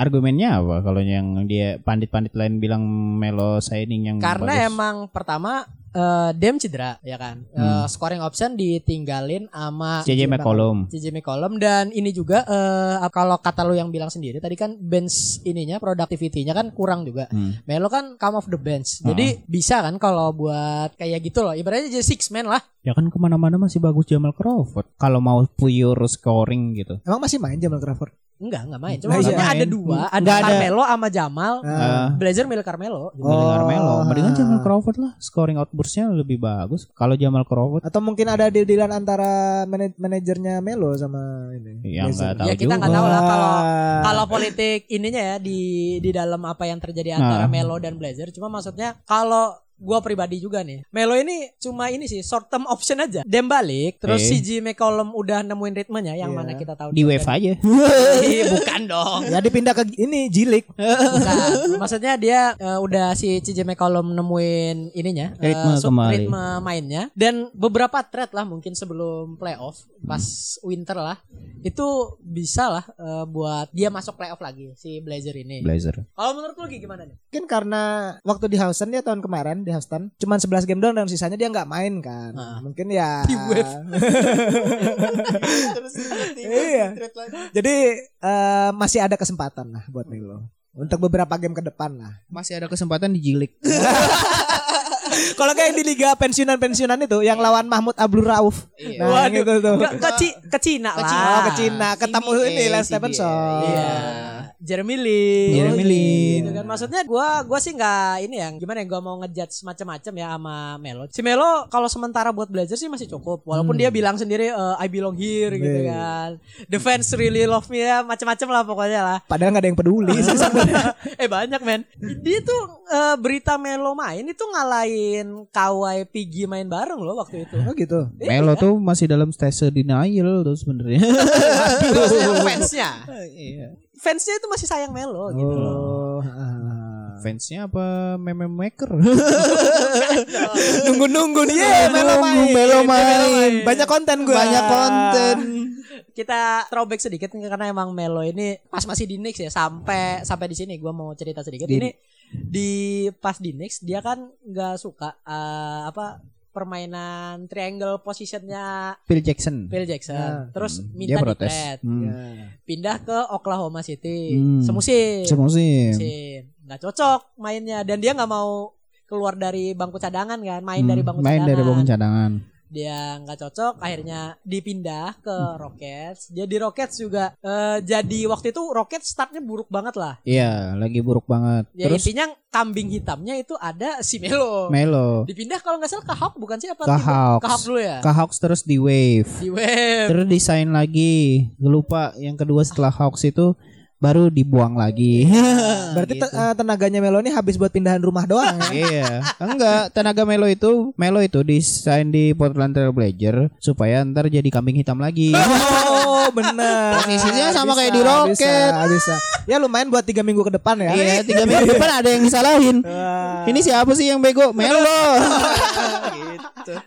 C: argumennya apa kalau yang dia pandit-pandit lain bilang Melo signing yang
A: Karena
C: bagus?
A: emang pertama eh, Dem cedera ya kan. Eh, scoring option ditinggalin sama
C: JJ McCollum
A: JJ McCollum dan ini juga eh, kalau kata lu yang bilang sendiri tadi kan bench ininya productivity-nya kan kurang juga.
C: Hmm.
A: Melo kan come off the bench. Jadi bisa kan kalau buat kayak gitu loh. Ibaratnya jadi six man lah.
C: ya kan kemana-mana masih bagus Jamal Crawford kalau mau pure scoring gitu
B: emang masih main Jamal Crawford
A: Enggak, enggak main. Cuma
B: Nggak
A: maksudnya
C: main.
A: ada dua, ada
C: Nggak Nah, iya. ada.
A: Carmelo sama Jamal.
C: Eh,
A: Blazer milik Carmelo.
C: Mendingan
B: Ah. Oh.
C: Carmelo, mendingan Jamal Crawford lah. Scoring outburstnya lebih bagus. Kalau Jamal Crawford
B: atau mungkin ada deal-dealan antara mana- manajernya Melo sama ini
C: ya
B: Ah, Blazer.
C: nggak tahu
A: ya kita
C: juga.
A: nggak tahu lah kalau
B: Wah.
A: kalau politik ininya ya di di dalam apa yang terjadi antara
C: Nah.
A: Melo dan Blazer. Cuma maksudnya kalau gua pribadi juga nih, Melo ini cuma ini sih short term option aja. Dem balik, terus
C: Eh.
A: CJ McCollum udah nemuin ritmenya yang mana kita tahu
C: Iya. Di wave aja.
A: Ih, bukan dong.
B: ya dipindah ke ini jilik
A: Bukan. Maksudnya dia eh, udah si CJ McCollum nemuin ininya eh,
C: Ritme
A: sup-
C: kembali.
A: ritme mainnya dan beberapa thread lah mungkin sebelum playoff pas winter lah itu bisa lah eh, buat dia masuk playoff lagi si Blazer ini.
C: Blazer.
A: Kalau menurut lu Gi, gimana nih?
B: Mungkin karena waktu di Houston dia tahun kemarin di Houston cuman 11 game doang dan sisanya dia nggak main kan.
A: Ah.
B: Mungkin ya.
A: Di wave.
B: Iya. Jadi eh, masih ada kesempatan lah buat Melo. Untuk beberapa game ke depan lah.
C: Masih ada kesempatan di jilik.
B: Kalau kayak di liga pensiunan-pensiunan itu yang lawan Mahmud Abdul Rauf.
C: Iya.
B: Nah, yang itu tuh.
A: Ke, ke, Ci- ke Cina
B: Ke
A: lah.
B: Cina, Oh, ke Cina ketemu
C: CBA,
B: ini Lance
C: CBA.
B: Stevenson.
A: Iya. Jeremy Lin.
C: Jeremy Lin.
A: Gitu kan. Maksudnya gua gua sih nggak ini ya. Gimana ya gua mau ngejudge macam-macam ya sama Melo. Si Melo kalau sementara buat belajar sih masih cukup. Walaupun
C: Hmm.
A: dia bilang sendiri eh, I belong here gitu
B: Iya.
A: kan. The fans really love me ya macam-macam lah pokoknya lah.
B: Padahal nggak ada yang peduli. sih sebenarnya.
A: eh banyak men. Dia tuh eh, berita Melo main itu ngalahin Kawhi Pigi main bareng loh waktu itu.
B: Oh gitu.
C: Melo tuh masih dalam stase denial tuh sebenarnya.
A: Maksudnya fansnya.
C: Iya.
A: Fansnya itu masih sayang Melo gitu.
B: Oh. ah.
C: Fansnya apa meme maker?
B: Nunggu-nunggu nih. Yeah, Melo
C: Nunggu
B: main.
C: Melo main.
B: Banyak konten Hmm. gue.
C: Banyak konten.
A: kita throwback sedikit karena emang Melo ini pas masih di Knicks ya sampai sampai di sini gua mau cerita sedikit
C: Di-
A: ini di pas di Knicks dia kan nggak suka eh, apa permainan triangle positionnya
C: Phil Jackson.
A: Phil Jackson
B: Nah,
A: terus
C: hmm,
A: minta
C: dia protes.
A: di-trade.
C: Hmm.
B: Ya.
A: pindah ke Oklahoma City
C: Hmm.
A: semusim
C: Semua sih.
A: Semusim. nggak cocok mainnya dan dia nggak mau keluar dari bangku cadangan kan main dari
C: Hmm,
A: bangku
C: main
A: cadangan
C: dari bangun cadangan.
A: dia nggak cocok
C: Hmm.
A: akhirnya dipindah ke Rockets dia di Rockets juga eh, jadi waktu itu Rockets startnya buruk banget lah
C: Iya, lagi buruk banget.
A: ya
C: Terus
A: intinya kambing hitamnya itu ada si Melo
C: Melo
A: dipindah kalau nggak salah ke Hawk bukan sih apa
C: Ke
A: tim-
C: Hawks.
A: ke Hawk dulu ya
C: ke Hawks terus di Wave.
A: di web
C: Terus desain lagi. Lupa yang kedua setelah Hawks itu baru dibuang lagi.
A: Ah,
B: Berarti
C: Gitu.
B: te- eh, tenaganya Melo ini habis buat pindahan rumah doang. ya?
C: Iya, enggak tenaga Melo itu Melo itu desain di Portland Trail Blazer supaya ntar jadi kambing hitam lagi.
B: Oh bener
C: Posisinya sama kayak di Rocket.
B: bisa, bisa. Ya lumayan buat tiga minggu ke depan ya
C: Iya, tiga minggu depan ada yang disalahin.
B: Wah.
C: Ini siapa sih yang bego? Melo.
A: Gitu.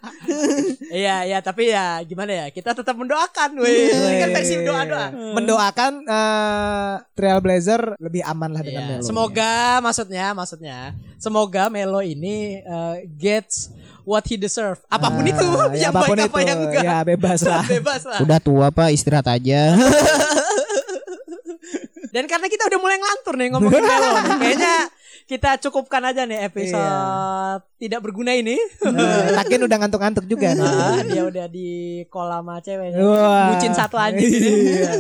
A: iya iya tapi ya gimana ya kita tetap mendoakan weh
C: Iya,
A: ini kan versi doa doa
B: Hmm. Mendoakan eh, Trail Blazer lebih aman lah dengan Ah, Melo
A: Iya, semoga maksudnya maksudnya semoga Melo ini eh, gets what he deserve apapun
B: Ah,
A: itu
B: ya,
A: yang
B: apapun
A: baik apa
B: itu.
A: yang enggak
B: Ya bebas lah
A: bebas lah
C: Udah tua pak, istirahat aja.
A: Dan karena kita udah mulai ngelantur nih ngomongin Melo nih. Kayaknya kita cukupkan aja nih episode
B: Iya.
A: tidak berguna ini.
B: Eh, Takin udah ngantuk-ngantuk juga nih.
A: Ah, dia udah di kolam sama ceweknya.
B: Wah.
A: Bucin satu anjing ini.
B: Iya.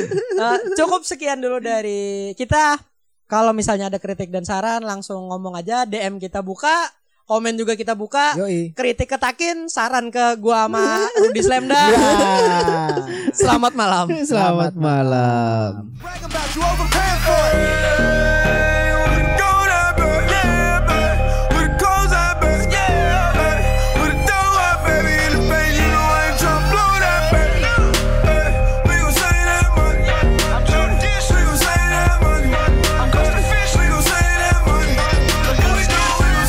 A: Eh, cukup sekian dulu dari kita. Kalau misalnya ada kritik dan saran langsung ngomong aja DM kita buka, komen juga kita buka.
B: Yoi
A: Kritik ketakin, saran ke gua sama Rudy Slamda.
B: Ah.
A: Selamat malam.
C: Selamat malam.
D: brag about you overpaying for it. Yeah, with the gold I burn, yeah, babe. With the clothes I burn, yeah, babe. With the dough I burn, in the bank, you know I ain't tryna blow that, babe. Hey, we gon' save that money. We gon' save that money. We gon' save that money. We gon'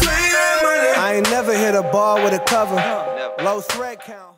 D: save that money. I ain't never hit a bar with a cover. Low thread count.